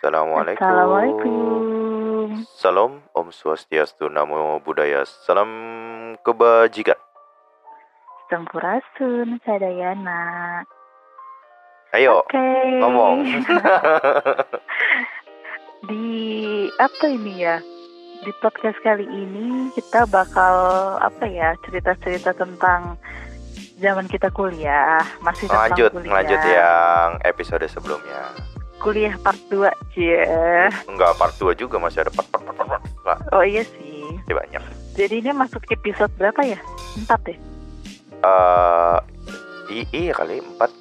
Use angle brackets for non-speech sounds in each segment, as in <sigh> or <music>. Assalamualaikum. Assalamualaikum. Salam Om Swastiastu Namo Buddhaya. Salam kebajikan. Sampurasun, Sadayana. Ayo Oke. ngomong. <laughs> Di apa ini ya? Di podcast kali ini kita bakal apa ya? Cerita-cerita tentang zaman kita kuliah, masih tentang lanjut, kuliah. lanjut ya. yang episode sebelumnya. Kuliah part 2, cie. Enggak part 2 juga masih ada part part part part. part. Wah, Oh iya sih. masih banyak. Jadi ini masuk episode berapa ya? Empat deh. Eh i- iya kali 4.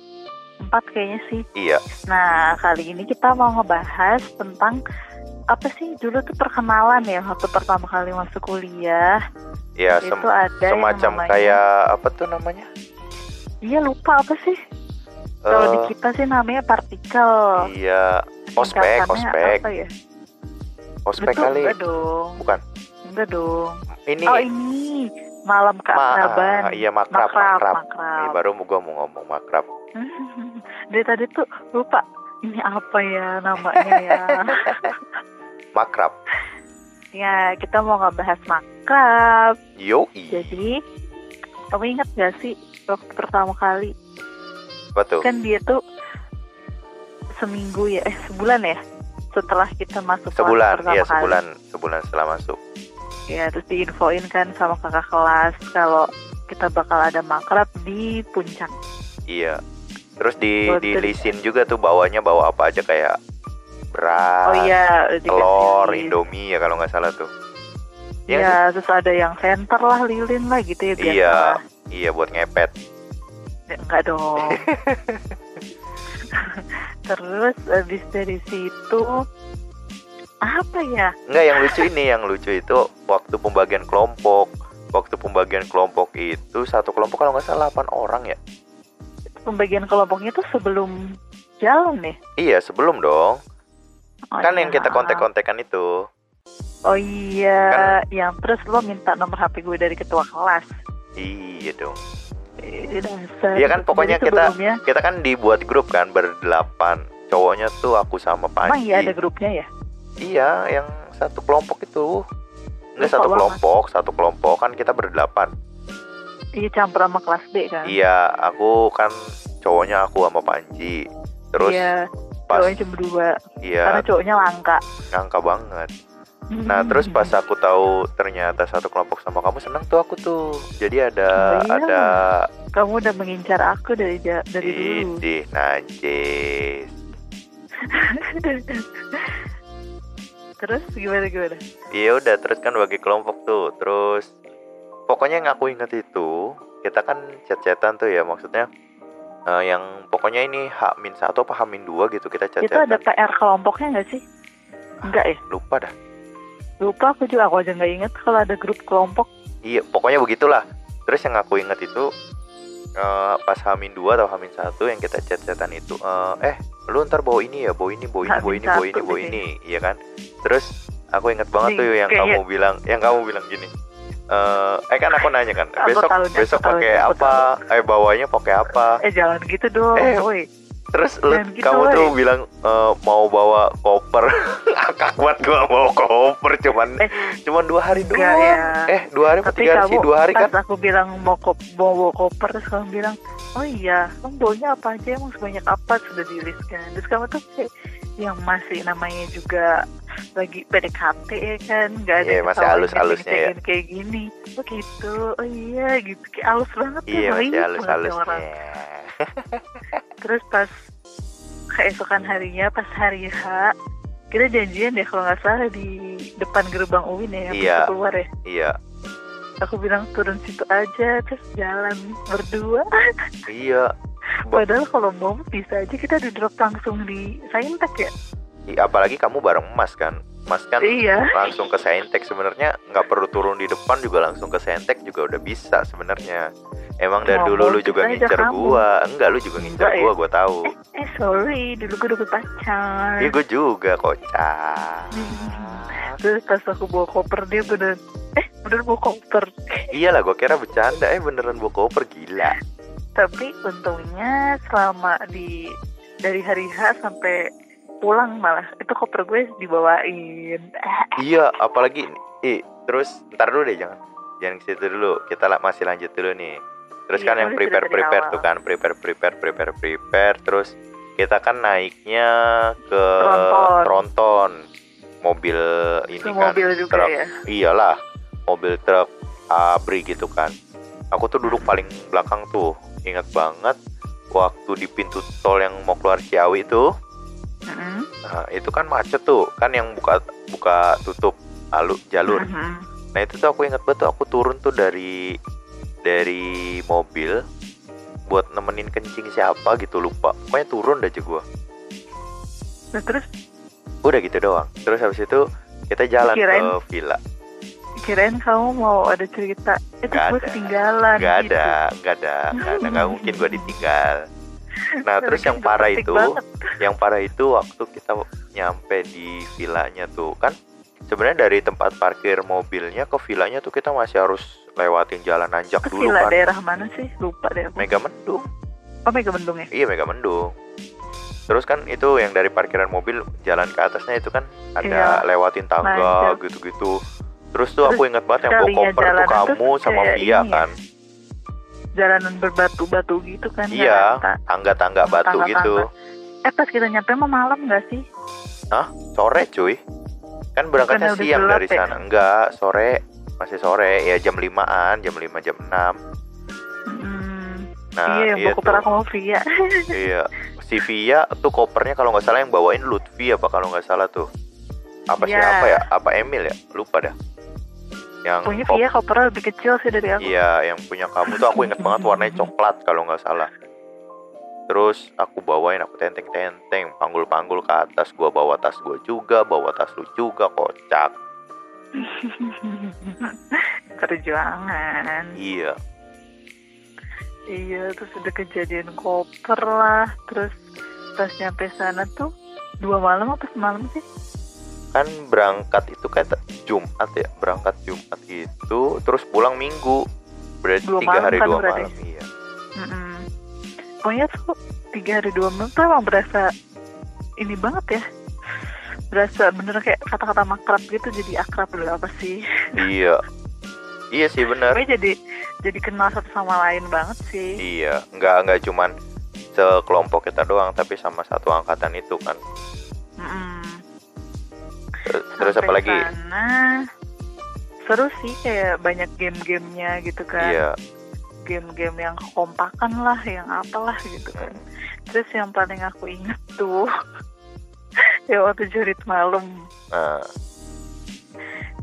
Empat kayaknya sih. Iya. Nah, kali ini kita mau ngebahas tentang apa sih dulu tuh perkenalan ya waktu pertama kali masuk kuliah Iya itu sem- ada yang semacam namanya- kayak apa tuh namanya? iya lupa apa sih kalau di Eh, kita sih namanya partikel iya ospek, Singkatannya ospek, apa ya? ospek Betul, kali. enggak dong Bukan. enggak dong Ini oh ini malam keakraban ma- iya makrab, makrab, makrab. makrab. Ini baru gua mau ngomong makrab. <laughs> dari tadi tuh lupa ini apa ya namanya <laughs> ya Makrab. Ya, kita mau ngebahas makrab. Yoi. Jadi, kamu ingat gak sih waktu pertama kali? Apa tuh? Kan dia tuh seminggu ya, eh sebulan ya? Setelah kita masuk kelas sebulan pertama ya kali. sebulan sebulan setelah masuk Ya, terus diinfoin kan sama kakak kelas kalau kita bakal ada makrab di puncak. iya terus di Betul. di lisin juga tuh bawanya bawa apa aja kayak beras oh iya, dikasih Ah, telur list. indomie ya kalau nggak salah tuh Iya Iya, terus ada yang center lah, lilin lah gitu ya biasa. iya lah. iya buat ngepet Ya, enggak <laughs> dong. Terus habis dari situ apa ya? nggak yang lucu ini yang lucu itu waktu pembagian kelompok waktu pembagian kelompok itu satu kelompok kalau nggak salah 8 orang ya Pembagian kelompoknya tuh sebelum jalan nih. iya sebelum dong Oh, kan yang iya. kita kontek-kontekan itu Oh Kan- iya, yang terus lo minta nomor HP gue dari ketua kelas. iya dong Eh, dasar. Iya kan, pokoknya Jadi kita- sebelumnya, kita kan dibuat grup kan berdelapan cowoknya tuh aku sama emang Panji iya ada grupnya ya? Iya, yang satu kelompok itu. Enggak Lupa satu banget. kelompok, satu kelompok kan kita berdelapan. Iya campur sama kelas B kan? Iya, aku kan cowoknya aku sama Panji. Terus Iya, pas cowoknya cuma dua, karena Hmm. iya cowoknya langka. ngangka banget. Nah, terus pas aku tahu ternyata satu kelompok sama kamu seneng tuh aku tuh. Jadi Oh, ada iya. ada kamu udah mengincar aku dari ja- dari dulu. <laughs> idih najis. Terus gimana gimana? Iya udah terus kan bagi kelompok tuh. Terus pokoknya yang aku inget itu kita kan chat-chatan tuh ya maksudnya eh, yang pokoknya ini H-1 apa H-2 gitu kita Itu ada chat-chatan. PR kelompoknya nggak sih? Enggak ya? Lupa dah. Lupa aku juga aku aja nggak inget kalau ada grup kelompok. Iya, pokoknya begitulah. Terus yang aku inget itu eh, pas H-2 atau H-1 yang kita chat-chatan itu eh, eh lu ntar bawa ini ya, bawa ini, bawa ini, bawa ini, bawa ini, H-1 bawa sih. ini, iya kan? Terus aku inget banget tuh Nih, yang kayak- kamu bilang, yang kamu bilang gini. eh, eh kan aku nanya kan, Aku besok tahu deh, besok aku tahu pakai deh, aku apa? Eh bawanya pakai apa? Eh jangan gitu dong, Eh, woi. Terus lu, Jangan gitu, kamu tuh woy. bilang eh, mau bawa koper. <laughs> Akak banget gua bawa koper cuman Eh. cuman dua hari doang. Enggak ya. Eh, dua hari apa Tapi tiga hari kamu sih? Dua hari kan? pas aku bilang mau kop bawa koper terus kamu bilang oh iya kamu bawanya apa aja emang sebanyak apa sudah di list kan terus kamu tuh kayak yang masih namanya juga lagi PDKT ya kan nggak ada Iya, yang masih ketahuan halus-halusnya ya. gini-gini kayak gini oh gitu oh iya gitu kayak halus banget ya, Iya, eh. baik masih banget halus-halusnya. orang. terus pas keesokan harinya pas hari H kita janjian deh kalau nggak salah di depan gerbang UIN ya yang Iya. pintu keluar ya <laughs> Iya. aku bilang turun situ aja terus jalan berdua Ah, Iya. Ba- padahal kalau mau bisa aja kita duduk langsung di saintek ya i- apalagi kamu bareng Mas kan? Mas kan iya langsung ke Saintek sebenarnya nggak perlu turun di depan juga langsung ke Saintek juga udah bisa sebenarnya. Emang dari Ngomong dulu lu juga kita aja ngincer kamu. gua. Enggak, lu juga ngincer Enggak ya? gua, gua tahu. eh, eh sorry dulu gue udah pacar Iya, gua juga kocak. Hmm. terus pas aku bawa koper dia bener eh bener bawa koper Iyalah, gue kira bercanda. Eh beneran bawa koper gila. tapi untungnya selama di dari hari H sampai pulang malah itu koper gue dibawain Eh, Iya, apalagi eh terus ntar dulu deh jangan jangan ke situ dulu. Kita la- masih lanjut dulu nih. Terus Iya, kan yang boleh prepare cerita dari prepare awal. tuh kan prepare prepare prepare prepare terus kita kan naiknya ke Tronton. Tronton. Mobil ini itu kan mobil juga truk. ya Iyalah, mobil truk abri gitu kan. Aku tuh duduk paling belakang tuh. Ingat banget waktu di pintu tol yang mau keluar Ciawi tuh Mm-mm. Nah, itu kan macet tuh, kan yang buka buka tutup lalu jalur. Mm-mm. Nah itu tuh aku inget banget tuh aku turun tuh dari dari mobil buat nemenin kencing siapa gitu lupa. Pokoknya turun dah aja gua. Nah, terus Udah gitu doang. Terus habis itu kita jalan Kirain ke villa. kirain kamu mau ada cerita itu Nggak gue ada. ketinggalan Gak gitu. ada, gak ada, gak ada, gak mungkin gua ditinggal. Nah terus yang Itu parah penting itu, banget. yang parah itu waktu kita nyampe di villanya tuh kan sebenarnya dari tempat parkir mobilnya ke villanya tuh kita masih harus lewatin jalan nanjak Terus dulu gila kan daerah mana sih lupa deh aku. Megamendung oh Megamendung ya iya Megamendung terus kan itu yang dari parkiran mobil jalan ke atasnya itu kan ada Iya, lewatin tangga nanjak. gitu-gitu terus tuh Terus aku ingat banget yang bawa sekalinya koper tuh jalanan tuh kamu sama kayak Via ini ya, kan jalanan berbatu-batu gitu kan Iya. rata. tangga-tangga batu Tangga-tangga. gitu eh pas kita nyampe mah malam gak sih sore cuy kan Bukannya berangkatnya udah siang gelap dari ya? sana enggak sore masih sore ya jam 5an jam 5 jam 6 Hmm, nah iya, yang iya bawa koper tuh. aku mau Via. iya si Via tuh kopernya kalau nggak salah yang bawain Lutfi apa kalau nggak salah tuh apa Iya. siapa ya apa Emil ya lupa dah yang Punya kop- Via kopernya lebih kecil sih dari aku. Iya, yang punya kamu tuh aku inget banget warnanya coklat kalau nggak salah. Terus aku bawain aku tenteng-tenteng, panggul-panggul ke atas, gua bawa tas gua juga, bawa tas lu juga, kocak. <laughs> Perjuangan. Iya, Iya, terus ada kejadian koper lah. Terus pas nyampe sana tuh dua malam apa semalam sih? kan berangkat itu kayak te- Jumat ya, berangkat Jumat itu, terus pulang Minggu, berarti Dua tiga malam hari kan dua berarti? malam. Iya. Mm-mm. Pokoknya tuh tiga hari dua malam tuh emang berasa ini banget ya. Berasa bener kayak kata-kata makrab gitu jadi akrab dulu apa sih? Iya. Iya sih bener. Gue jadi jadi kenal satu sama lain banget sih. Iya, nggak nggak cuman sekelompok kita doang, tapi sama satu angkatan itu kan. Mm-mm. Ter- Terus Sampai apa lagi? Sana, seru sih kayak banyak game-gamenya gitu kan. Iya. Game-game yang kompakan lah, yang apalah gitu kan. Mm. Terus yang paling aku ingat tuh <laughs> ya waktu jurit malam. Nah,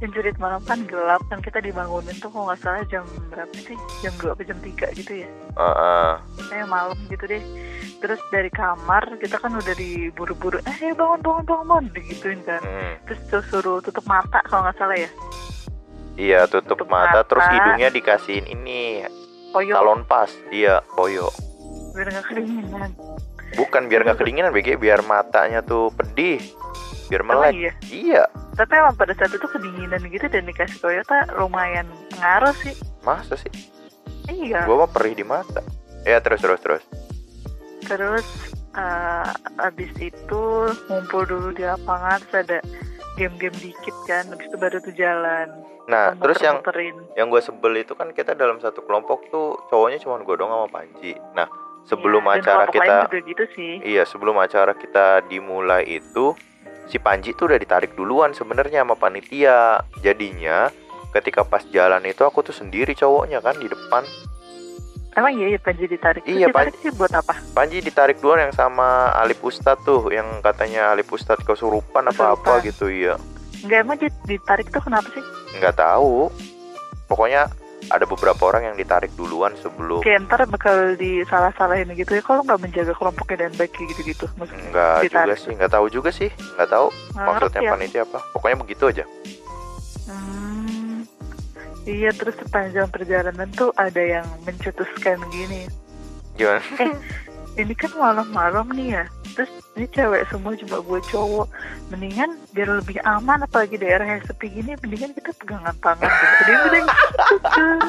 Yang jurit malam kan gelap kan kita dibangunin tuh kalau nggak salah jam berapa sih? Jam 2 apa jam 3 gitu ya. eh, eh. Kayak malam gitu deh. Terus dari kamar kita kan udah diburu-buru, eh bangun bangun bangun bangun digituin kan. Hmm. Terus tuh suruh tutup mata kalau nggak salah ya. Iya, tutup, Tutup mata. mata, terus hidungnya dikasihin ini, Koyok talon pas. Iya, koyo. biar nggak kedinginan. Bukan biar nggak kedinginan, BG, biar matanya tuh pedih, biar Emang melek. iya. Iya, Tapi emang pada saat itu kedinginan gitu dan dikasih Toyota lumayan ngaruh sih. masa sih? Iya. Gua mah perih di mata. Ya terus terus terus. Terus eh, abis itu ngumpul dulu di lapangan terus ada game-game dikit kan. Abis itu baru tuh jalan. Nah, terus yang Muter-muterin. yang gue sebel itu kan kita dalam satu kelompok tuh cowoknya cuma gue doang sama Panji. Nah, sebelum Iya, dan acara kelompok kita lain juga gitu sih. iya, sebelum acara kita dimulai itu si Panji tuh udah ditarik duluan sebenarnya sama panitia. Jadinya ketika pas jalan itu aku tuh sendiri cowoknya kan di depan. Emang iya ya Panji ditarik. Terus Iya, ditarik sih buat apa? Panji ditarik duluan yang sama Alif Ustad tuh yang katanya Alif Ustad kesurupan apa-apa Kesurupan. gitu iya. Enggak emang dia ditarik tuh kenapa sih? Nggak tahu. Pokoknya ada beberapa orang yang ditarik duluan sebelum Kayak ntar bakal disalah-salahin gitu ya. Kalau nggak menjaga kelompoknya dan baik gitu-gitu. Maksudnya Enggak juga Ditarik. sih, nggak tahu juga sih, nggak tahu nggak Hmm, maksudnya ngerti aku. panitia apa. Pokoknya begitu aja. Hmm, iya terus sepanjang perjalanan tuh ada yang mencetuskan gini. Gimana? Ini kan malam-malam nih ya, terus ini cewek semua cuma gue cowok mendingan biar lebih aman apalagi daerah yang sepi gini mendingan kita pegangan tangan gede gede <laughs> <laughs>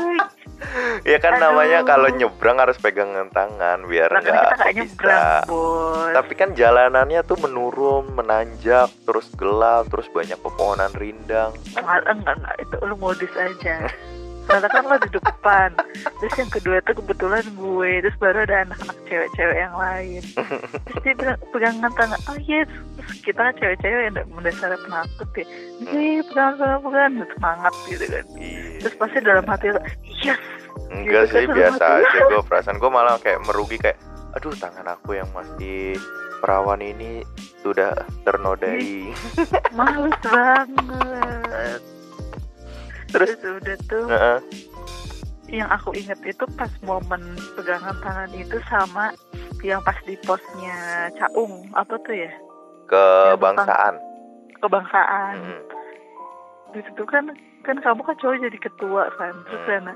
ya kan namanya Aduh. kalau nyebrang harus pegangan tangan biar makanya nggak kita nggak nyebrang kepisah. bos Tapi kan jalanannya tuh menurun, menanjak, terus gelap, terus banyak pepohonan rindang. enggak enggak enggak "Eh, itu lu modus aja karena kan lo di depan terus yang kedua itu kebetulan gue terus baru ada anak-anak cewek-cewek yang lain terus dia bilang pegangan tangan oh yes terus kita kan cewek-cewek yang mendasar penakut ya iya pegangan tangan pegangan Terus semangat gitu kan Iya. terus pasti dalam hati lo yes Enggak gitu sih kan biasa rumah aja gue perasaan gue malah kayak merugi kayak aduh tangan aku yang masih perawan ini sudah Iya. ternodai. males banget Terus? terus udah tuh Heeh. yang aku inget itu pas momen pegangan tangan itu sama yang pas di posnya Caung apa tuh ya Kebangsaan. kebangsaan Eh, Mm-mm. di situ kan kan kamu kan cowok jadi ketua kan terus Hmm. Lena,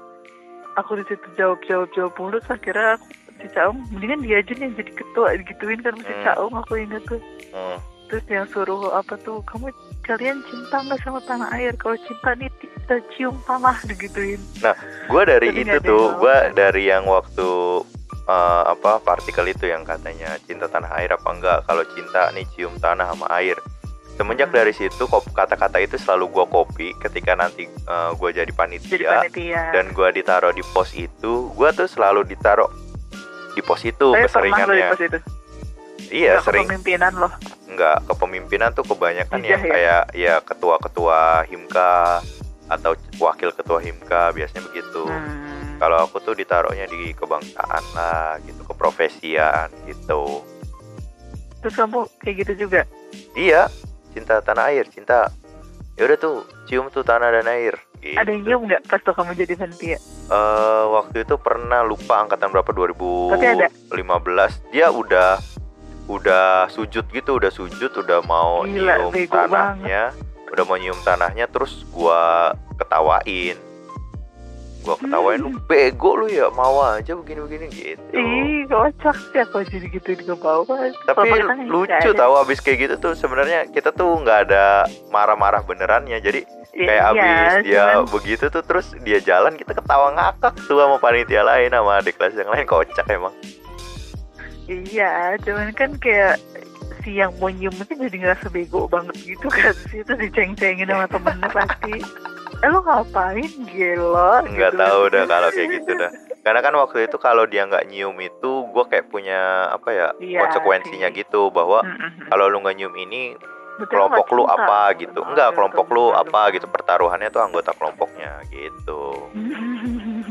aku di situ jawab jawab jawab mulu terus akhirnya aku si Caung mendingan dia aja nih yang jadi ketua digituin kan sama si Hmm. Caung aku inget tuh Mm. terus yang suruh apa tuh kamu kalian cinta nggak sama tanah air kalau cinta nih kita cium tanah digituin Gue dari Jadi nggak ada itu yang tuh, mau. gue dari yang waktu eh, apa partikel itu yang katanya cinta tanah air apa enggak? Kalau cinta nih cium tanah sama air. Semenjak Hmm. dari situ kop- kata-kata itu selalu gue copy ketika nanti gue jadi panitia jadi panitia dan gue ditaruh di pos itu, gue tuh selalu ditaruh di pos itu Tapi pernah lo di keseringannya. pos itu Iya Nggak sering. kepemimpinan loh Enggak, kepemimpinan tuh kebanyakan Lidah yang ya? kayak ya ketua-ketua himka atau wakil ketua himka biasanya begitu. Hmm. Kalau aku tuh ditaruhnya di kebangsaan lah gitu, keprofesian gitu. Terus kamu kayak gitu juga. Iya, cinta tanah air, cinta. Ya udah tuh, cium tuh tanah dan air. Gitu. Ada yang nyium nggak pas tuh kamu jadi ya? panitia? Eh, waktu itu pernah lupa angkatan berapa 2015. Tapi ada. Dia udah udah sujud gitu, udah sujud, udah mau Gila, nyium bego tanahnya, udah mau nyium tanahnya terus gua ketawain. Gua ketawain Hmm. lu bego lu ya, mau aja begini-begini gitu. Ih, kocak sih aku jadi gitu di bawah. tapi kan lucu tahu abis kayak gitu tuh sebenarnya kita tuh nggak ada marah-marah benerannya jadi Iya, kayak abis dia begitu tuh terus dia jalan kita ketawa ngakak tuh sama panitia lain sama adik kelas yang lain kocak emang Iya, cuman kan kayak si yang mau nyium itu jadi ngerasa bego banget gitu kan sih itu diceng-cengin sama temennya pasti eh lo ngapain gelo nggak gitu. tahu dah kalau kayak gitu dah karena kan waktu itu kalau dia nggak nyium itu gue kayak punya apa ya Iya konsekuensinya sih. gitu bahwa Mm-mm. kalau lu nggak nyium ini Betul, kelompok nggak lu cinta. apa gitu enggak Iya, kelompok betul, lu betul. apa gitu pertaruhannya tuh anggota kelompoknya gitu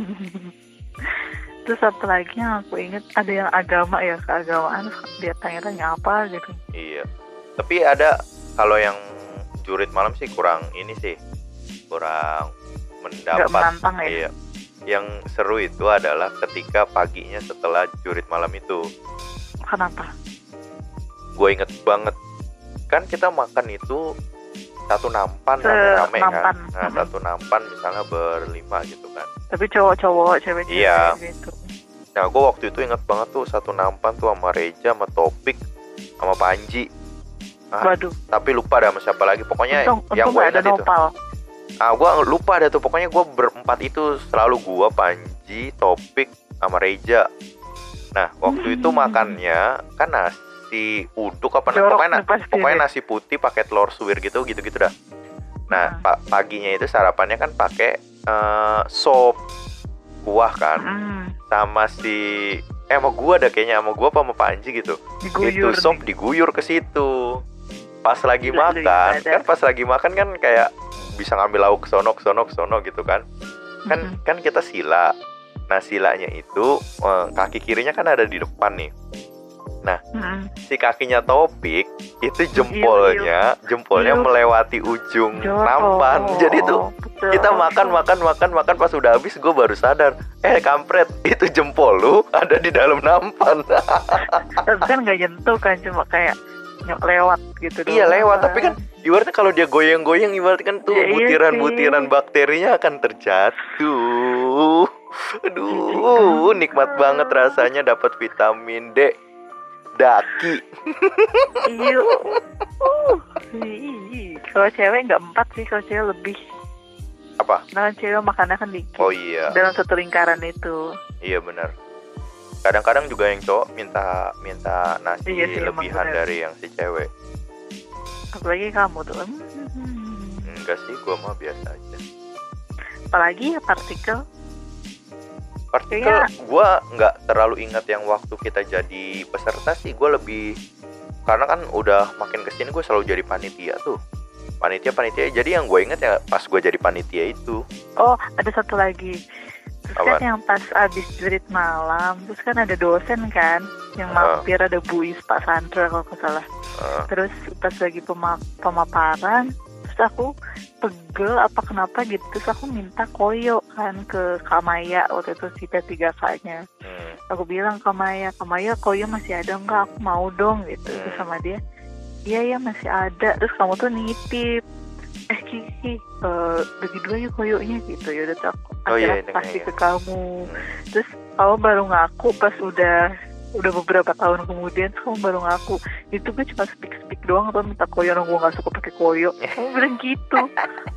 <laughs> Terus apa lagi yang aku inget ada yang agama ya keagamaan terus dia tanya-tanya apa gitu. Iya. Tapi ada kalau yang jurit malam sih kurang ini sih kurang Gak mendapat. menantang ya. Iya. Yang seru itu adalah ketika paginya setelah jurit malam itu, Kenapa? gue inget banget kan kita makan itu satu nampan Se- rame-rame kan, nampan. nah, Mhm. satu nampan misalnya berlima gitu kan. Tapi cowok-cowok, cewek-cewek Iya. gitu. Nah gue waktu itu inget banget tuh satu nampan tuh sama Reja, sama Topik, sama Panji. Ah, Waduh, tapi lupa dah sama siapa lagi. Pokoknya untung, yang untung gue gak ada ingat itu. nopal. Ah, gua lupa ada tuh. Pokoknya gua berempat itu selalu gua Panji, Topik, sama Reja. Nah, waktu itu Hmm. makannya kan nasi uduk apa Jorok pokoknya, nih pasti pokoknya nih. nasi putih pakai telur suwir gitu gitu-gitu dah. Nah, Hmm. pa- paginya itu sarapannya kan pakai eh, sop kuah kan Hmm, sama si eh sama gua ada kayaknya sama gua apa sama Panji gitu diguyur. itu sop nih. diguyur ke situ pas lagi Gila, gila, makan gila, ada. kan pas lagi makan kan kayak bisa ngambil lauk ke sono ke sono ke sono gitu kan kan Mm-mm. kan kita sila nah silanya itu eh, kaki kirinya kan ada di depan nih Mm-mm. si kakinya topik itu jempolnya jempolnya Iya. melewati ujung Jorok. nampan jadi tuh Betul. kita makan makan makan makan pas udah habis gue baru sadar eh kampret itu jempol lu ada di dalam nampan <laughs> Tapi kan gak nyentuh kan, cuma kayak nyok lewat gitu. Iya doang. lewat, tapi kan ibaratnya kalau dia goyang-goyang ibaratnya kan tuh Ya, iya butiran-butiran sih. bakterinya akan terjatuh. Aduh, Jijik. nikmat banget rasanya dapat vitamin D. D daki <laughs> Iya. Uh, ih. kalau cewek nggak empat sih, kalau cewek lebih. apa Nah, cewek makannya kan dikit. oh iya Dalam satu lingkaran itu. iya benar kadang-kadang juga yang cowok minta minta nasi Iya sih, emang lebihan bener. dari yang si cewek Apalagi kamu tuh. Hmm. enggak sih gua mah biasa aja Apalagi ya partikel. Partikel Kayaknya- gua nggak terlalu ingat yang waktu kita jadi peserta sih gua lebih karena kan udah makin kesini gue selalu jadi panitia tuh panitia panitia jadi yang gue inget ya pas gue jadi panitia itu Oh, ada satu lagi. Terus kan Apaan? yang pas abis jurit malam, terus kan ada dosen kan yang Ah. mampir ada buis Pak Sandra kalau nggak salah. Eh, Terus pas lagi pema- pemaparan, terus aku pegel apa kenapa gitu, terus aku minta koyo kan ke Kamaya waktu itu si tiga kakaknya. hmm, Aku bilang Kamaya, Kamaya koyo ya masih ada nggak? Aku mau dong gitu. Terus sama dia, iya ya masih ada. Terus kamu tuh nitip eh Kiki, eh, bagi dua yuk koyonya gitu ya udah tuh aku Oh, iya, akhirnya iya, kasih iya. ke kamu Hmm. terus kamu baru ngaku pas udah udah beberapa tahun kemudian terus kamu baru ngaku itu gue cuma speak speak doang atau minta koyo orang gue nggak suka pakai koyo kamu bilang <laughs> gitu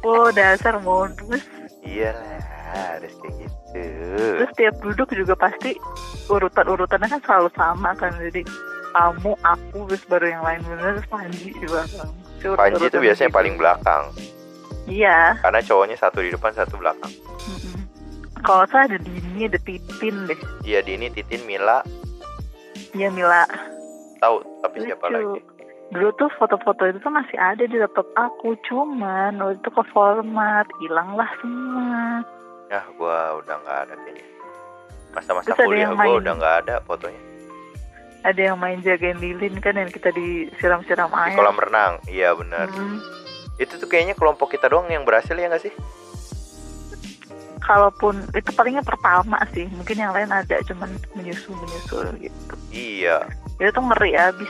oh dasar modus iyalah iya harus kayak gitu terus tiap duduk juga pasti urutan urutannya kan selalu sama kan jadi kamu aku terus baru yang lain bener terus Panji di belakang Terus Panji itu urutan biasanya gitu. paling belakang iya karena cowoknya satu di depan satu belakang mm-mm. kalau saya ada Dini ada Titin deh iya Dini Titin Mila ya Mila tahu tapi Lucu. siapa lagi dulu tuh foto-foto itu tuh masih ada di laptop aku cuman waktu itu ke format hilanglah semua ya gua udah nggak ada kayaknya masa-masa Terus ada kuliah yang ya, gua main. udah nggak ada fotonya ada yang main jagain lilin kan yang kita disiram-siram di air kolam renang iya benar Hmm. itu tuh kayaknya kelompok kita doang yang berhasil ya nggak sih kalaupun itu palingnya pertama sih mungkin yang lain ada cuman menyusul menyusul gitu iya itu tuh ngeri abis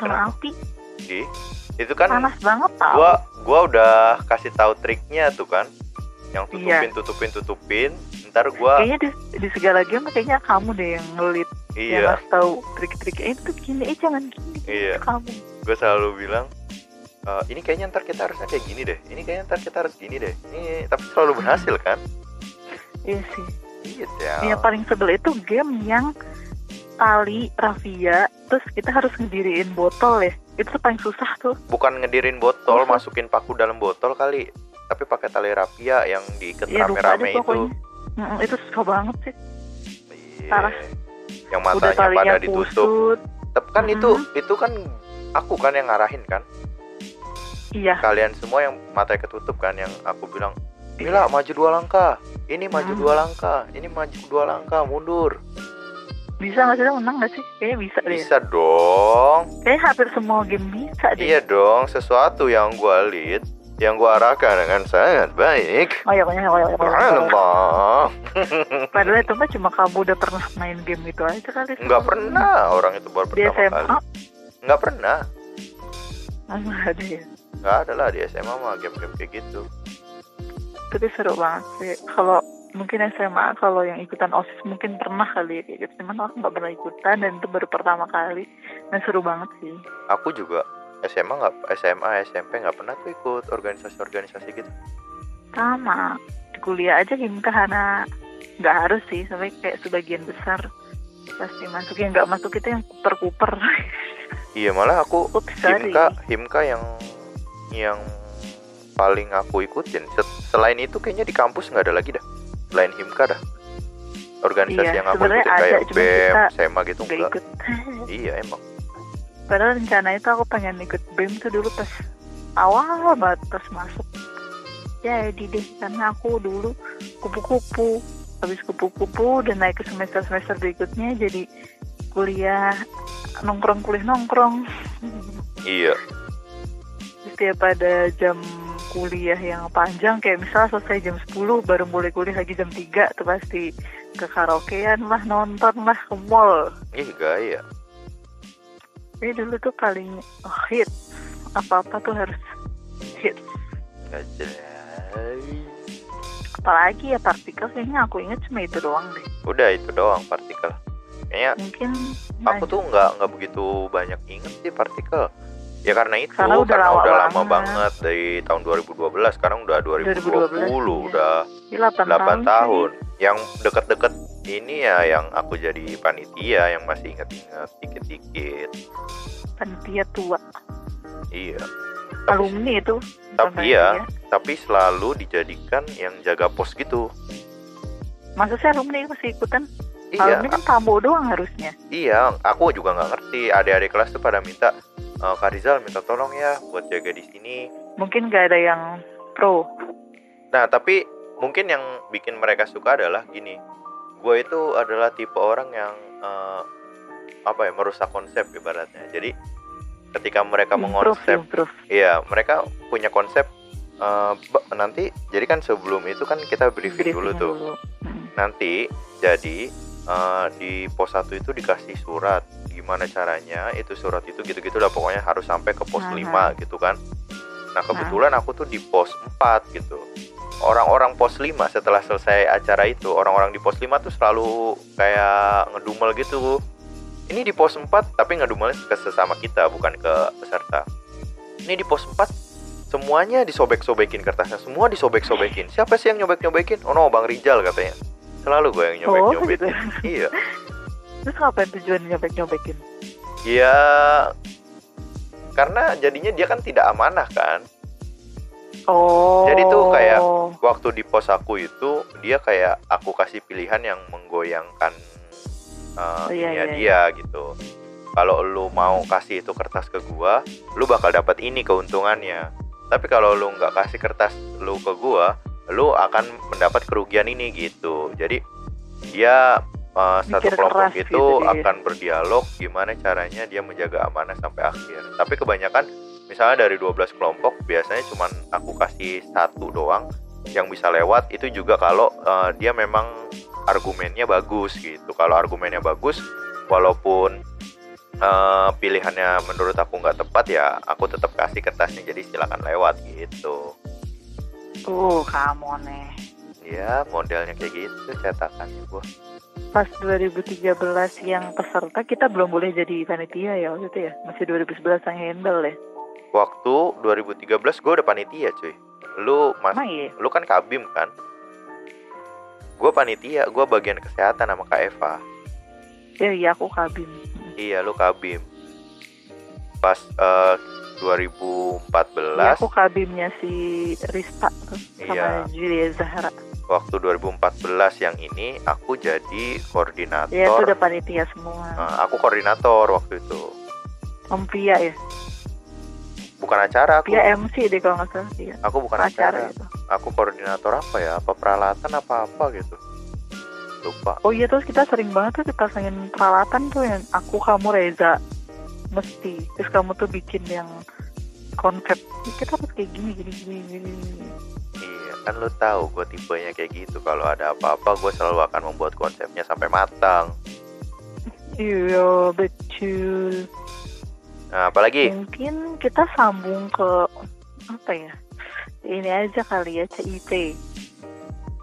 takut sama kenapa? api di itu kan panas banget tau gua ah. gua udah kasih tahu triknya tuh kan yang Iya. tutupin tutupin tutupin ntar gua kayaknya di, di segala game kayaknya kamu deh yang ngelit yang iya ngasih tahu trik-trik eh, itu gini eh jangan gini Iya. itu kamu gue selalu bilang "Eh, ini kayaknya ntar kita harusnya kayak gini deh ini kayaknya ntar kita harus gini deh ini tapi selalu berhasil kan iya sih iya Yang paling sebel itu game yang tali rafia terus kita harus ngediriin botol ya. Itu tuh paling susah tuh. bukan ngedirin botol Masa? masukin paku dalam botol kali tapi pakai tali rapia yang diikat Ya lupa aja rame-rame itu pokoknya. Mm, itu susah banget sih. Iya. Parah. yang Udah matanya talinya pada ditutup kusut. tapi kan Mhm. itu itu kan aku kan yang ngarahin kan Iya. kalian semua yang matanya ketutup kan yang aku bilang Mila maju dua langkah ini maju Hmm. dua langkah ini maju dua langkah mundur Bisa nggak sih lo menang nggak sih? Kayaknya bisa deh. bisa dong Kayaknya hampir semua game bisa deh. iya dong sesuatu yang gua lead yang gua arahkan dengan sangat baik Oh ya, pokoknya, pokoknya, pokoknya. Subhanallah. Padahal itu mah cuma kamu udah pernah main game itu aja kali. <laughs> nggak pernah orang itu baru Di pertama SMA. kali nggak pernah Ah, nggak ada ya. nggak ada lah di SMA mah game-game kayak gitu Tapi seru banget sih. Kalau mungkin SMA kalau yang ikutan OSIS mungkin pernah kali ya kayak gitu. Cuman aku nggak pernah ikutan dan itu baru pertama kali. Nah seru banget sih. aku juga SMA nggak SMA SMP nggak pernah tuh ikut organisasi-organisasi gitu Sama. Di kuliah aja game kahana nggak harus sih. Sampai kayak sebagian besar pasti masuk yang nggak masuk itu yang kuper kuper. iya malah aku <laughs> Ups sorry. himka himka yang yang paling aku ikutin Se- selain itu kayaknya di kampus nggak ada lagi dah selain himka dah organisasi Iya, yang aku sebenarnya ikutin ada, kayak cuma BEM, kita SEMA gitu Nggak enggak ikut. <laughs> iya emang Padahal rencana itu aku pengen ikut BEM tuh dulu pas awal banget pas masuk. Jadi deh karena aku dulu kupu-kupu. Habis kupu-kupu dan naik ke semester-semester berikutnya jadi kuliah nongkrong kuliah nongkrong. iya Setiap ada jam kuliah yang panjang kayak misalnya selesai jam 10 baru mulai kuliah lagi jam 3 tuh pasti ke karaokean lah nonton lah ke mall ih gaya Jadi dulu tuh paling hit apa-apa tuh harus hit. nggak jelas Apalagi ya partikel kayaknya aku ingat cuma itu doang deh. udah itu doang partikel kayaknya Mungkin nah, aku tuh nggak nggak begitu banyak inget sih partikel ya karena itu Karena karena udah udah, lama lama banget. banget dari tahun 2012 sekarang udah 2012, 2020 iya. udah Ini 8, 8 tahun. tahun. Yang deket-deket ini ya yang aku jadi panitia yang masih inget-inget dikit-dikit. sih. Panitia tua. Iya. Tapi, Alumni itu. bukan Tapi ya. panitia. tapi selalu dijadikan yang jaga pos gitu. Masa sih alumni masih ikutan? Iya, Alumni kan tamu doang harusnya. iya. Aku juga nggak ngerti. Adik-adik kelas tuh pada minta e, Kak Rizal minta tolong ya buat jaga di sini. Mungkin gak ada yang pro. Nah, tapi mungkin yang bikin mereka suka adalah gini. Gue itu adalah tipe orang yang eh, apa ya merusak konsep ibaratnya. Jadi ketika mereka improve, ya. mengonsep, improve. iya mereka punya konsep eh, ba- nanti. Jadi kan sebelum itu kan kita briefing dulu Briefing tuh. Mm. Nanti jadi eh, di pos 1 itu dikasih surat gimana caranya itu surat itu gitu-gitu lah pokoknya harus sampai ke pos Aha. 5 gitu kan. Nah, kebetulan aku tuh di pos 4 gitu. Orang-orang pos 5 setelah selesai acara itu, orang-orang di pos 5 tuh selalu kayak ngedumel gitu. Ini di pos 4 tapi ngedumel ke sesama kita bukan ke peserta. Ini di pos 4 semuanya disobek-sobekin kertasnya, semua disobek-sobekin. Siapa sih yang nyobek-nyobekin? Oh no, Bang Rijal katanya. Selalu gue yang Oh, nyobek-nyobekin. gitu. Iya. Terus ngapain tujuan nyobek-nyobekin? Iya. Karena jadinya dia kan tidak amanah kan. Oh. Jadi tuh kayak- Waktu di pos aku itu dia kayak aku kasih pilihan yang menggoyangkan uh, Oh, iya, ininya iya, dia gitu. Kalau lu mau kasih itu kertas ke gua, lu bakal dapat ini keuntungannya. Tapi kalau lu nggak kasih kertas lu ke gua, lu akan mendapat kerugian ini gitu. Jadi dia uh, satu Mikir kelompok keras itu gitu dia. akan berdialog gimana caranya dia menjaga amanah sampai akhir. Tapi kebanyakan misalnya dari 12 kelompok biasanya cuman aku kasih satu doang yang bisa lewat itu juga kalau uh, dia memang argumennya bagus gitu. Kalau argumennya bagus walaupun uh, pilihannya menurut aku nggak tepat ya aku tetap kasih kertasnya jadi silakan lewat gitu. Tuh, eh. kamu nih. Ya modelnya kayak gitu cetakannya gua. Pas 2013 yang peserta kita belum boleh jadi panitia ya waktu itu ya. Masih 2011 yang handle ya. Waktu 2013 gue udah panitia cuy. Lu mas Emang iya. lu kan kabim kan gue panitia gue bagian kesehatan sama kak Eva Ya iya aku kabin. iya lu kabim pas eh, 2014 Iya aku kabinnya si Rista tuh Iya. sama Julia Zahra. waktu 2014 yang ini aku jadi koordinator Ya itu udah panitia semua. Eh, aku koordinator waktu itu Om Pia ya. bukan acara aku Pia MC deh kalau nggak salah. Iya. gitu. aku bukan eh, Acara acara itu. aku koordinator apa ya apa peralatan apa apa gitu lupa Oh iya terus kita sering banget tuh dipasangin peralatan tuh yang aku kamu Reza mesti terus kamu tuh bikin yang konsep "Ih, kita harus kayak gini gini gini gini iya kan lu tahu gue tipenya kayak gitu kalau ada apa-apa gue selalu akan membuat konsepnya sampai matang iya betul Nah, apalagi mungkin kita sambung ke apa ya ini aja kali ya CIP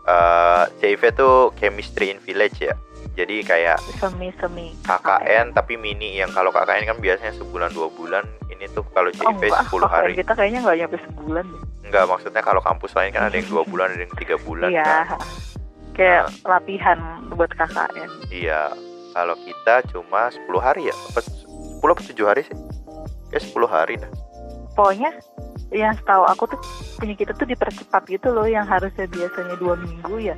eh CIV tuh Chemistry in Village ya. Jadi kayak semi semi KKN tapi mini yang kalau KKN kan biasanya sebulan dua bulan. Ini tuh kalau oh CIV enggak 10 hari. kita kayaknya nggak nyampe sebulan deh. Enggak maksudnya kalau kampus lain kan ada yang dua bulan ada yang tiga bulan. iya kan. kayak Nah. latihan buat KKN Iya. Kalau kita cuma 10 hari ya. Apa 10 apa 7 hari sih? Kayak 10 hari dah. pokoknya yang setahu aku tuh punya kita tuh dipercepat gitu loh yang harusnya biasanya dua minggu ya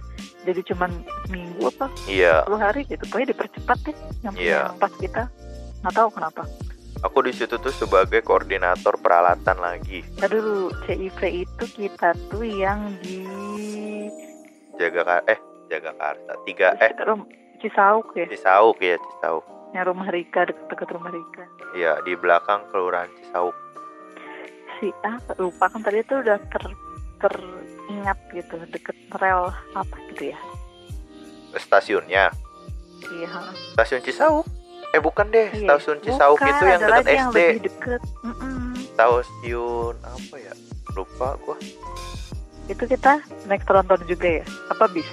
jadi cuman minggu apa Iya, 10 hari gitu pokoknya dipercepat deh yang, Iya. yang pas kita nggak tahu kenapa aku di situ tuh sebagai koordinator peralatan lagi. Ntar dulu CIP itu kita tuh yang di Jaga kar eh jaga karsa tiga eh Rum- Cisauk ya Cisauk ya Cisauk. yang rumah Rika deket-deket rumah Rika Iya, di belakang kelurahan Cisauk. si apa lupa kan tadi tuh udah ter teringat gitu deket rel apa gitu ya Stasiunnya. iya Stasiun Cisauk? Eh bukan deh, Iya. Stasiun Cisauk Bukan, itu yang ada dekat lagi yang SD. lebih deket Mm-mm. Stasiun apa ya? Lupa gua. itu kita naik tronton juga ya apa bis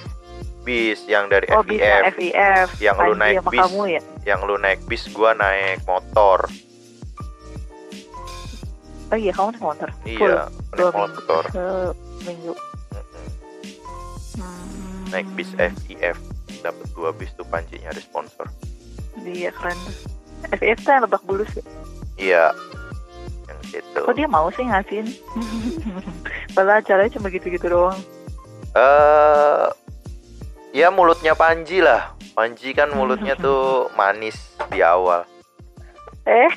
Bis yang dari oh bis yang FIF, FIF yang Panji lu naik sama bis. kamu ya yang lu naik bis gua naik motor oh iya kamu naik motor iya Full. dua naik minggu motor minggu Mm-mm. naik bis FIF dapat dua bis tuh pancinya ada sponsor Iya keren. FIF tuh yang lebak bulus ya. iya yang gitu Kok dia mau sih <laughs> ngasihin? Padahal acaranya cuma gitu-gitu doang. eh ya mulutnya Panji lah Panji kan Hmm. mulutnya tuh manis di awal Eh,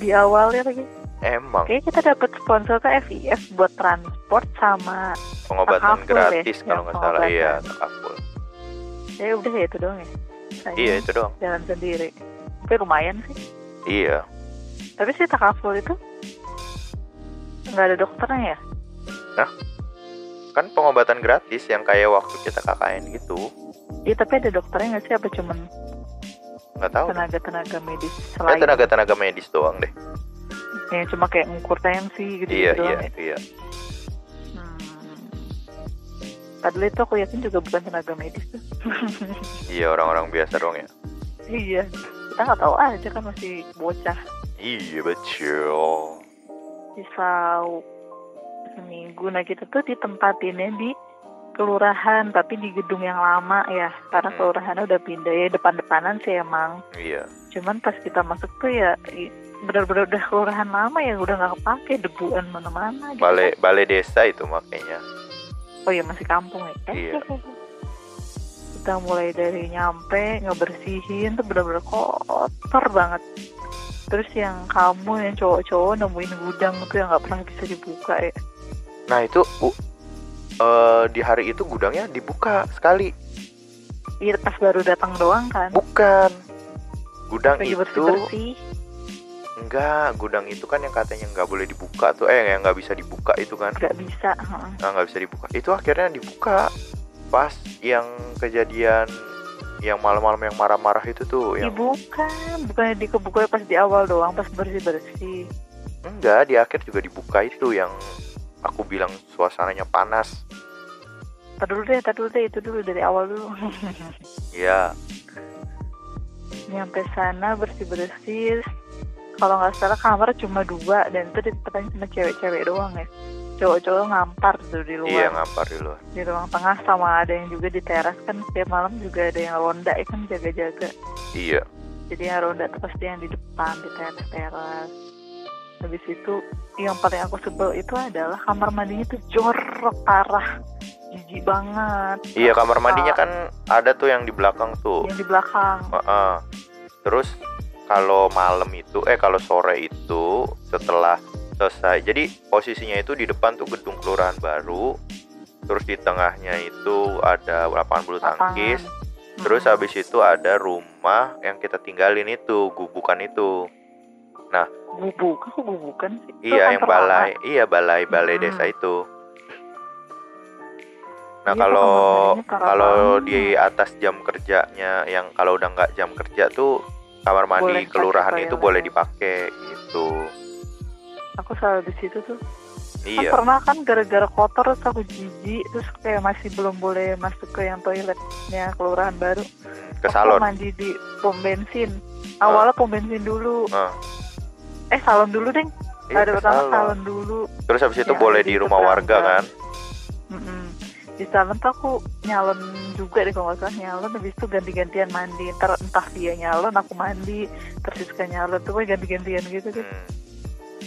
di awalnya lagi. emang Kayaknya kita dapat sponsor tuh FIF buat transport sama pengobatan Takaful ya, gratis ya, kalau nggak salah iya pengobatan. takaful ya udah ya itu doang ya. Saya iya itu doang Jalan sendiri. Tapi lumayan sih. iya Tapi sih takaful itu nggak ada dokternya ya. kan pengobatan gratis yang kayak waktu kita KKN gitu Iya tapi ada dokternya nggak sih apa cuman nggak tahu tenaga-tenaga medis kayak selain Oh. Eh, tenaga tenaga medis doang deh ya cuma kayak ngukur tensi gitu, iya doang iya ya. iya Hmm. Padahal itu aku yakin juga bukan tenaga medis tuh. iya orang-orang biasa doang ya iya. Kita nggak tahu aja kan masih bocah. iya betul Bisa seminggu. Nah kita tuh ditempatinnya di kelurahan tapi di gedung yang lama ya karena Hmm. kelurahannya udah pindah ya depan-depanan sih emang iya cuman pas kita masuk tuh ya i- benar-benar udah kelurahan lama ya udah nggak kepake debuan mana-mana gitu. balai balai desa itu makanya Oh iya masih kampung ya. Iya. <laughs> Kita mulai dari nyampe ngebersihin tuh bener-bener kotor banget. Terus yang kamu yang cowok-cowok nemuin gudang tuh yang nggak pernah bisa dibuka ya. nah itu u- eh, di hari itu gudangnya dibuka sekali Iya pas baru datang doang kan. bukan gudang Lagi itu bersih-bersih. enggak gudang itu kan yang katanya nggak boleh dibuka tuh eh yang nggak bisa dibuka itu kan nggak bisa. heeh. Nah, nggak bisa dibuka itu akhirnya dibuka pas yang kejadian yang malam-malam yang marah-marah itu tuh yang Dibuka, bukan dikebuka pas di awal doang, pas bersih-bersih. enggak di akhir juga dibuka itu yang aku bilang suasananya panas Tadi dulu deh, tadi dulu deh, itu dulu dari awal dulu. ya nyampe sana bersih bersih kalau nggak salah kamar cuma dua dan itu ditempatkan cuma cewek-cewek doang ya cowok-cowok ngampar tuh di iya luar ngampar di luar di ruang tengah sama ada yang juga di teras kan setiap malam juga ada yang ronda ya kan jaga-jaga iya jadi yang ronda tuh pasti yang di depan di teras-teras habis itu yang paling aku sebel itu adalah kamar mandinya tuh jorok parah jijik banget iya kamar mandinya kan ada tuh yang di belakang tuh yang di belakang Heeh. terus kalau malam itu eh kalau sore itu setelah selesai jadi posisinya itu di depan tuh gedung kelurahan baru terus di tengahnya itu ada lapangan bulu lapangan Hmm. tangkis Terus Mm-mm. habis itu ada rumah yang kita tinggalin itu, gubukan itu. gubuk aku gubukan sih Itu kan Iya, yang kantor lama. balai, iya balai-balai Hmm. desa itu. Nah, Iya, kalau kamar mandinya parah kalau banget. di atas jam kerjanya yang kalau udah nggak jam kerja tuh kamar Boleh mandi dipakai ya, kelurahan itu toilet. boleh dipakai gitu. aku selalu di situ tuh kan Iya. pernah kan gara-gara kotor terus aku jijik terus kayak masih belum boleh masuk ke yang toiletnya kelurahan baru Ke Aku salon. mandi di pom bensin awalnya pom bensin dulu Ah. eh salon dulu deh Iya, ada ke pertama salon. salon. dulu Terus habis itu Ya, boleh di di rumah warga tetangga. kan? Mm-mm. di salon tuh aku nyalon juga deh kalau nggak salah nyalon habis itu ganti-gantian mandi ntar entah dia nyalon aku mandi terus dia suka nyalon tuh pokoknya ganti-gantian gitu deh Hmm.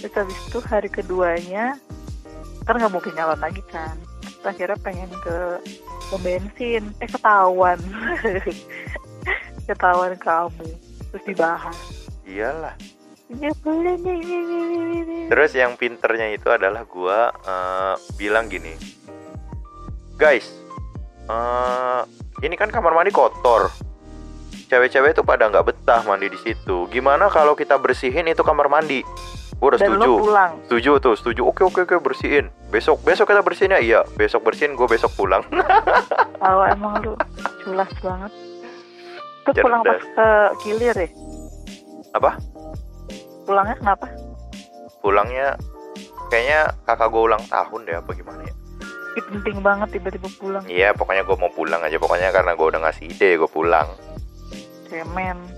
Terus habis itu hari keduanya kan nggak mungkin nyalon lagi kan. Terus akhirnya pengen ke pom bensin, eh ketahuan, <laughs> ketahuan kamu. Terus dibahas. Iyalah. Ya boleh nih, nih, nih, nih, nih, nih. Terus yang pinternya itu adalah gua eh, bilang gini, guys, eh, ini kan kamar mandi kotor, cewek-cewek itu pada nggak betah mandi di situ. Gimana kalau kita bersihin itu kamar mandi? Gua udah Dan setuju, lo pulang. setuju tuh, setuju. Oke oke oke bersihin. Besok besok kita bersihin ya, iya. Besok bersihin, gue besok pulang. <laughs> Tahu emang lu culas banget. Terus Cerdas. pulang pas ke kilir ya? Apa? Pulangnya kenapa? Pulangnya kayaknya kakak gue ulang tahun deh apa gimana ya? Ih, penting banget tiba-tiba pulang. Iya, pokoknya gue mau pulang aja. Pokoknya karena gue udah ngasih ide, gue pulang. Cemen.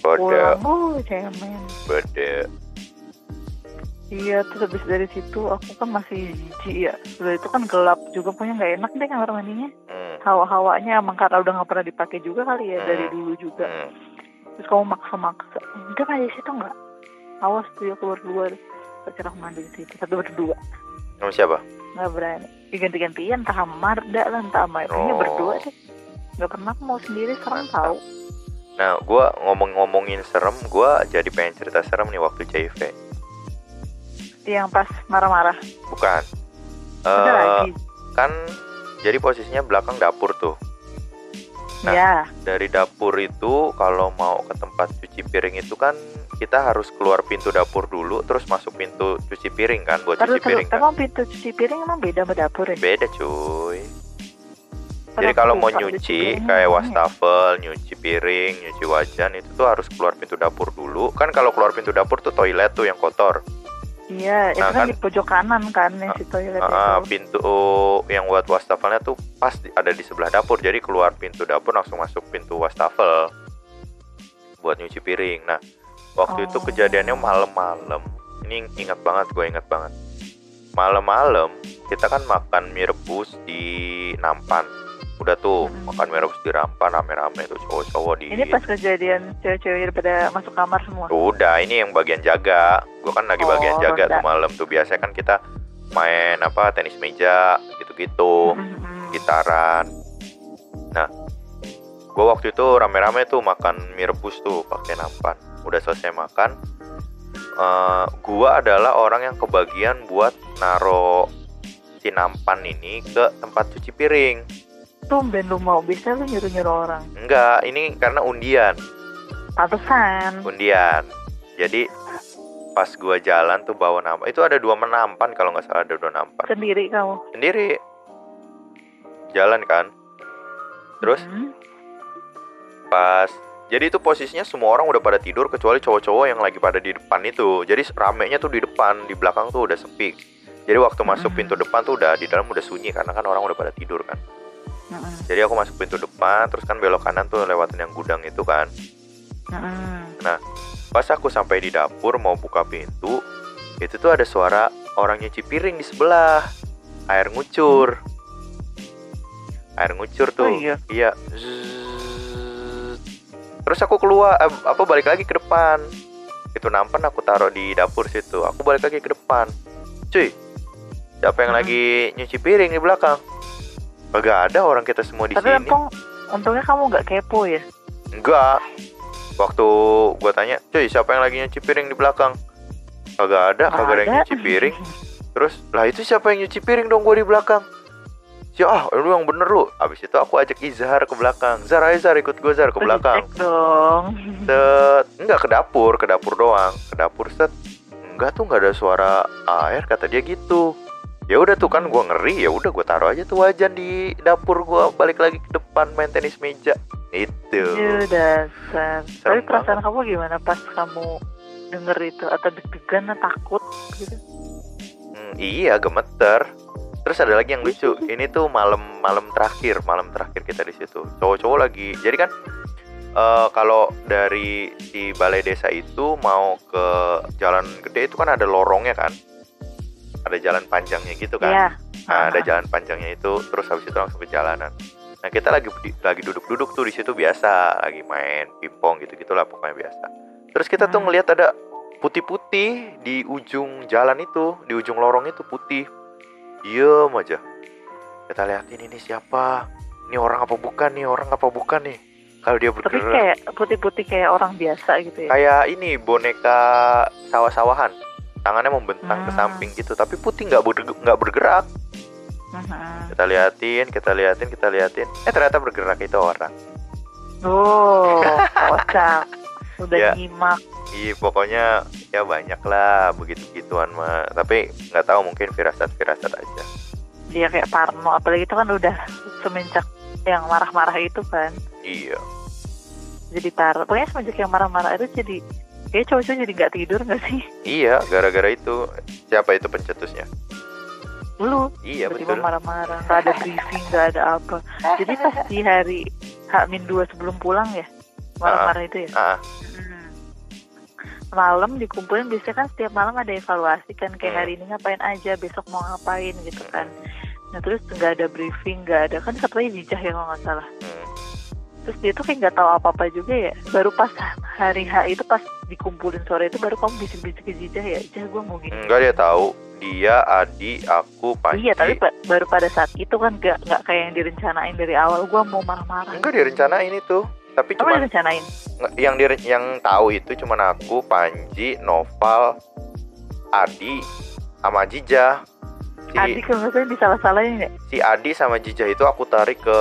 Kode. pulang oh cemen Bede. iya terus habis dari situ aku kan masih jijik ya udah itu kan gelap juga punya nggak enak deh kamar mandinya Hmm. hawa-hawanya emang karena udah nggak pernah dipakai juga kali ya dari dulu juga Hmm. terus kamu maksa-maksa enggak aja situ enggak awas tuh ya keluar keluar pacar aku mandi di situ satu berdua Sama siapa? nggak berani Ya, ganti-gantian entah sama Marda lah entah sama ini Oh. berdua deh nggak pernah aku mau sendiri sekarang tahu Nah, gua ngomong-ngomongin serem, gua jadi pengen cerita serem nih waktu JIV. yang pas marah-marah Bukan. ada Eh, lagi kan jadi posisinya belakang dapur tuh. nah. ya Dari dapur itu kalau mau ke tempat cuci piring itu kan kita harus keluar pintu dapur dulu terus masuk pintu cuci piring kan buat terus terus cuci piring kan. emang pintu cuci piring emang beda sama dapur ya Beda cuy. Padahal Jadi kalau aku mau lupa nyuci piringnya kayak gimana ya. wastafel, nyuci piring, nyuci wajan itu tuh harus keluar pintu dapur dulu. Kan kalau keluar pintu dapur tuh toilet tuh yang kotor. iya itu kan Nah, kan- di pojok kanan kan yang si toilet Ah, itu pintu yang buat wastafelnya tuh pas di- ada di sebelah dapur. Jadi keluar pintu dapur langsung masuk pintu wastafel buat nyuci piring. Nah, waktu itu Oh. kejadiannya malam-malam. Ini ingat banget, gue ingat banget. Malam-malam kita kan makan mie rebus di Nampan. Udah tuh Hmm. makan mie rebus di Nampan rame-rame tuh cowok-cowok di ini pas kejadian cewek-cewek pada masuk kamar semua Udah, ini yang bagian jaga. Gue kan lagi bagian Oh, jaga ronda. tuh malam tuh. Biasanya kan kita main apa tenis meja Hmm. gitu-gitu, Mm-mm. gitu. gitaran. Nah, gue waktu itu rame-rame tuh makan mie rebus tuh pakai nampan. Udah selesai makan, eh gua adalah orang yang kebagian buat naro si nampan ini ke tempat cuci piring. Tumben lu mau bisa lu nyuruh-nyuruh orang. Enggak, ini karena undian. Pantesan. undian jadi pas gua jalan tuh bawa nampan itu ada dua menampan kalau nggak salah ada dua nampan Sendiri kamu. sendiri jalan kan terus Hmm. pas jadi itu posisinya semua orang udah pada tidur kecuali cowok-cowok yang lagi pada di depan itu jadi ramenya tuh di depan di belakang tuh udah sepi jadi waktu masuk Mhm. pintu depan tuh udah di dalam udah sunyi karena kan orang udah pada tidur kan Mm-mm. jadi aku masuk pintu depan terus kan belok kanan tuh lewatin yang gudang itu kan Mm-mm. Pas aku sampai di dapur mau buka pintu, itu tuh ada suara orang nyuci piring di sebelah. Air ngucur. Air ngucur tuh. Oh iya. Zzzz. Terus aku keluar eh, apa balik lagi ke depan. Itu nampan aku taruh di dapur situ. Aku balik lagi ke depan. Cuy. Siapa yang Hmm. lagi nyuci piring di belakang? Kagak ada orang kita semua di Tapi sini. untung untungnya kamu nggak kepo ya. Enggak. Waktu gua tanya, cuy siapa yang lagi nyuci piring di belakang? Kagak ada, kagak ada yang nyuci <laughs> piring. Terus, lah itu siapa yang nyuci piring dong gua di belakang? Si ah, lu yang bener lu. Habis itu aku ajak Izhar ke belakang. Zar, ayo Zar ikut gua Zar ke Terus belakang. dicek dong. Set, enggak ke dapur, ke dapur doang. Ke dapur set. Enggak tuh enggak ada suara air kata dia gitu. Ya udah tuh kan gua ngeri, ya udah gua taruh aja tuh wajan di dapur gua balik lagi ke depan main tenis meja. Gitu. Itu. Aduh, Iya, dasar. Tapi Serem perasaan kamu gimana pas kamu denger itu atau deg-degan atau takut gitu? Hmm, iya gemeter. Terus ada lagi yang lucu. Ini tuh malam malam terakhir, malam terakhir kita di situ. Cowok-cowok lagi. Jadi kan eh, kalau dari si balai desa itu mau ke jalan gede itu kan ada lorongnya kan. Ada jalan panjangnya gitu kan. Iya. Nah, ada jalan panjangnya itu terus habis itu langsung ke jalanan. Nah, kita lagi di- lagi duduk-duduk tuh di situ biasa, lagi main pingpong gitu-gitulah pokoknya biasa. Terus kita tuh Hmm. ngelihat ada putih-putih di ujung jalan itu, di ujung lorong itu putih. Diem aja. Kita liatin ini siapa? Ini orang apa bukan nih? Orang apa bukan nih? Kalau dia Tapi bergerak kayak putih-putih kayak orang biasa gitu ya. kayak ini boneka sawah-sawahan. Tangannya membentang ke Hmm. samping gitu, tapi putih nggak berge- nggak bergerak. Mhm. kita liatin kita liatin kita liatin eh ternyata bergerak itu orang Oh, kocak. Udah Ya. nyimak. iya pokoknya ya banyak lah begitu gituan mah tapi nggak tahu mungkin firasat firasat aja dia kayak parno apalagi itu kan udah semenjak yang marah-marah itu kan iya jadi parno pokoknya semenjak yang marah-marah itu jadi kayak cowok-cowok jadi nggak tidur nggak sih iya gara-gara itu siapa itu pencetusnya lu iya tiba-tiba betul marah-marah nggak ada briefing nggak ada apa jadi pas di hari H-2 sebelum pulang ya marah-marah itu ya ah Hmm, malam dikumpulin biasanya kan setiap malam ada evaluasi kan kayak hari ini ngapain aja besok mau ngapain gitu kan nah terus nggak ada briefing nggak ada kan satu lagi jijah ya kalau nggak salah terus dia tuh kayak nggak tahu apa apa juga ya baru pas hari H itu pas dikumpulin sore itu baru kamu bisik-bisik ke jijah ya jijah gue mau gini Enggak Hmm. dia tahu dia Adi aku Panji. Iya, tapi ba- baru pada saat itu kan nggak nggak kayak yang direncanain dari awal. Gua mau marah-marah. enggak direncanain itu. Tapi Kamu cuma direncanain? yang dire- yang tahu itu cuman aku, Panji, Noval, Adi sama Jija. Si, Adik kalau nggak salah disalah-salahin ya. si Adi sama Jija itu aku tarik ke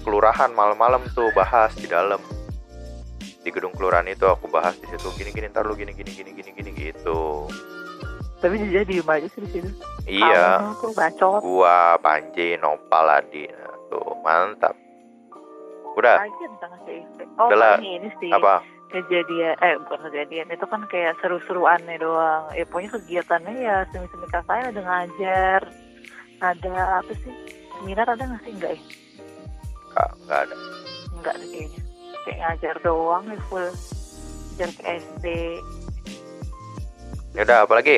kelurahan malam-malam tuh bahas di dalam di gedung kelurahan itu aku bahas di situ gini gini ntar lu gini gini gini gini gini gitu Tapi dia diem aja sih di situ. iya Kamu tuh bacot. gua Panji Nopal Adi Nah, tuh mantap udah Lagi tentang CIP. Oh, Udah lah. paling ini sih. apa Kejadian, eh bukan kejadian. Itu kan kayak seru-seruannya doang. Ya pokoknya kegiatannya ya semi-semi kakaknya ada ngajar. Ada apa sih? Seminar ada nggak sih? Enggak ya? Nggak- nggak ada Enggak deh kayaknya. Kayak ngajar doang nih full. Ngajar ke SD. ya udah apalagi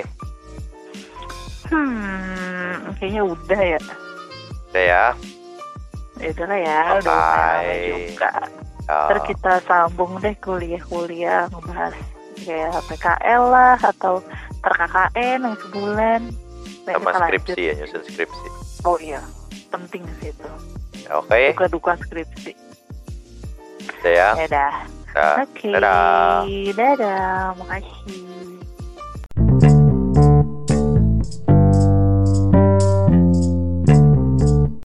Hmm, kayaknya udah ya. udah ya Ya udah lah ya, udah Bye-bye. lumayan lama juga. Ya. Ntar kita sambung deh kuliah-kuliah ngebahas kayak PKL lah atau ntar KKN yang sebulan. Nah, kita sama lanjut. skripsi ya nyusun skripsi Oh iya, penting sih itu. Ya, oke Duka-duka skripsi. udah ya Ya udah. Dah. Oke, Dadah. dadah. Makasih.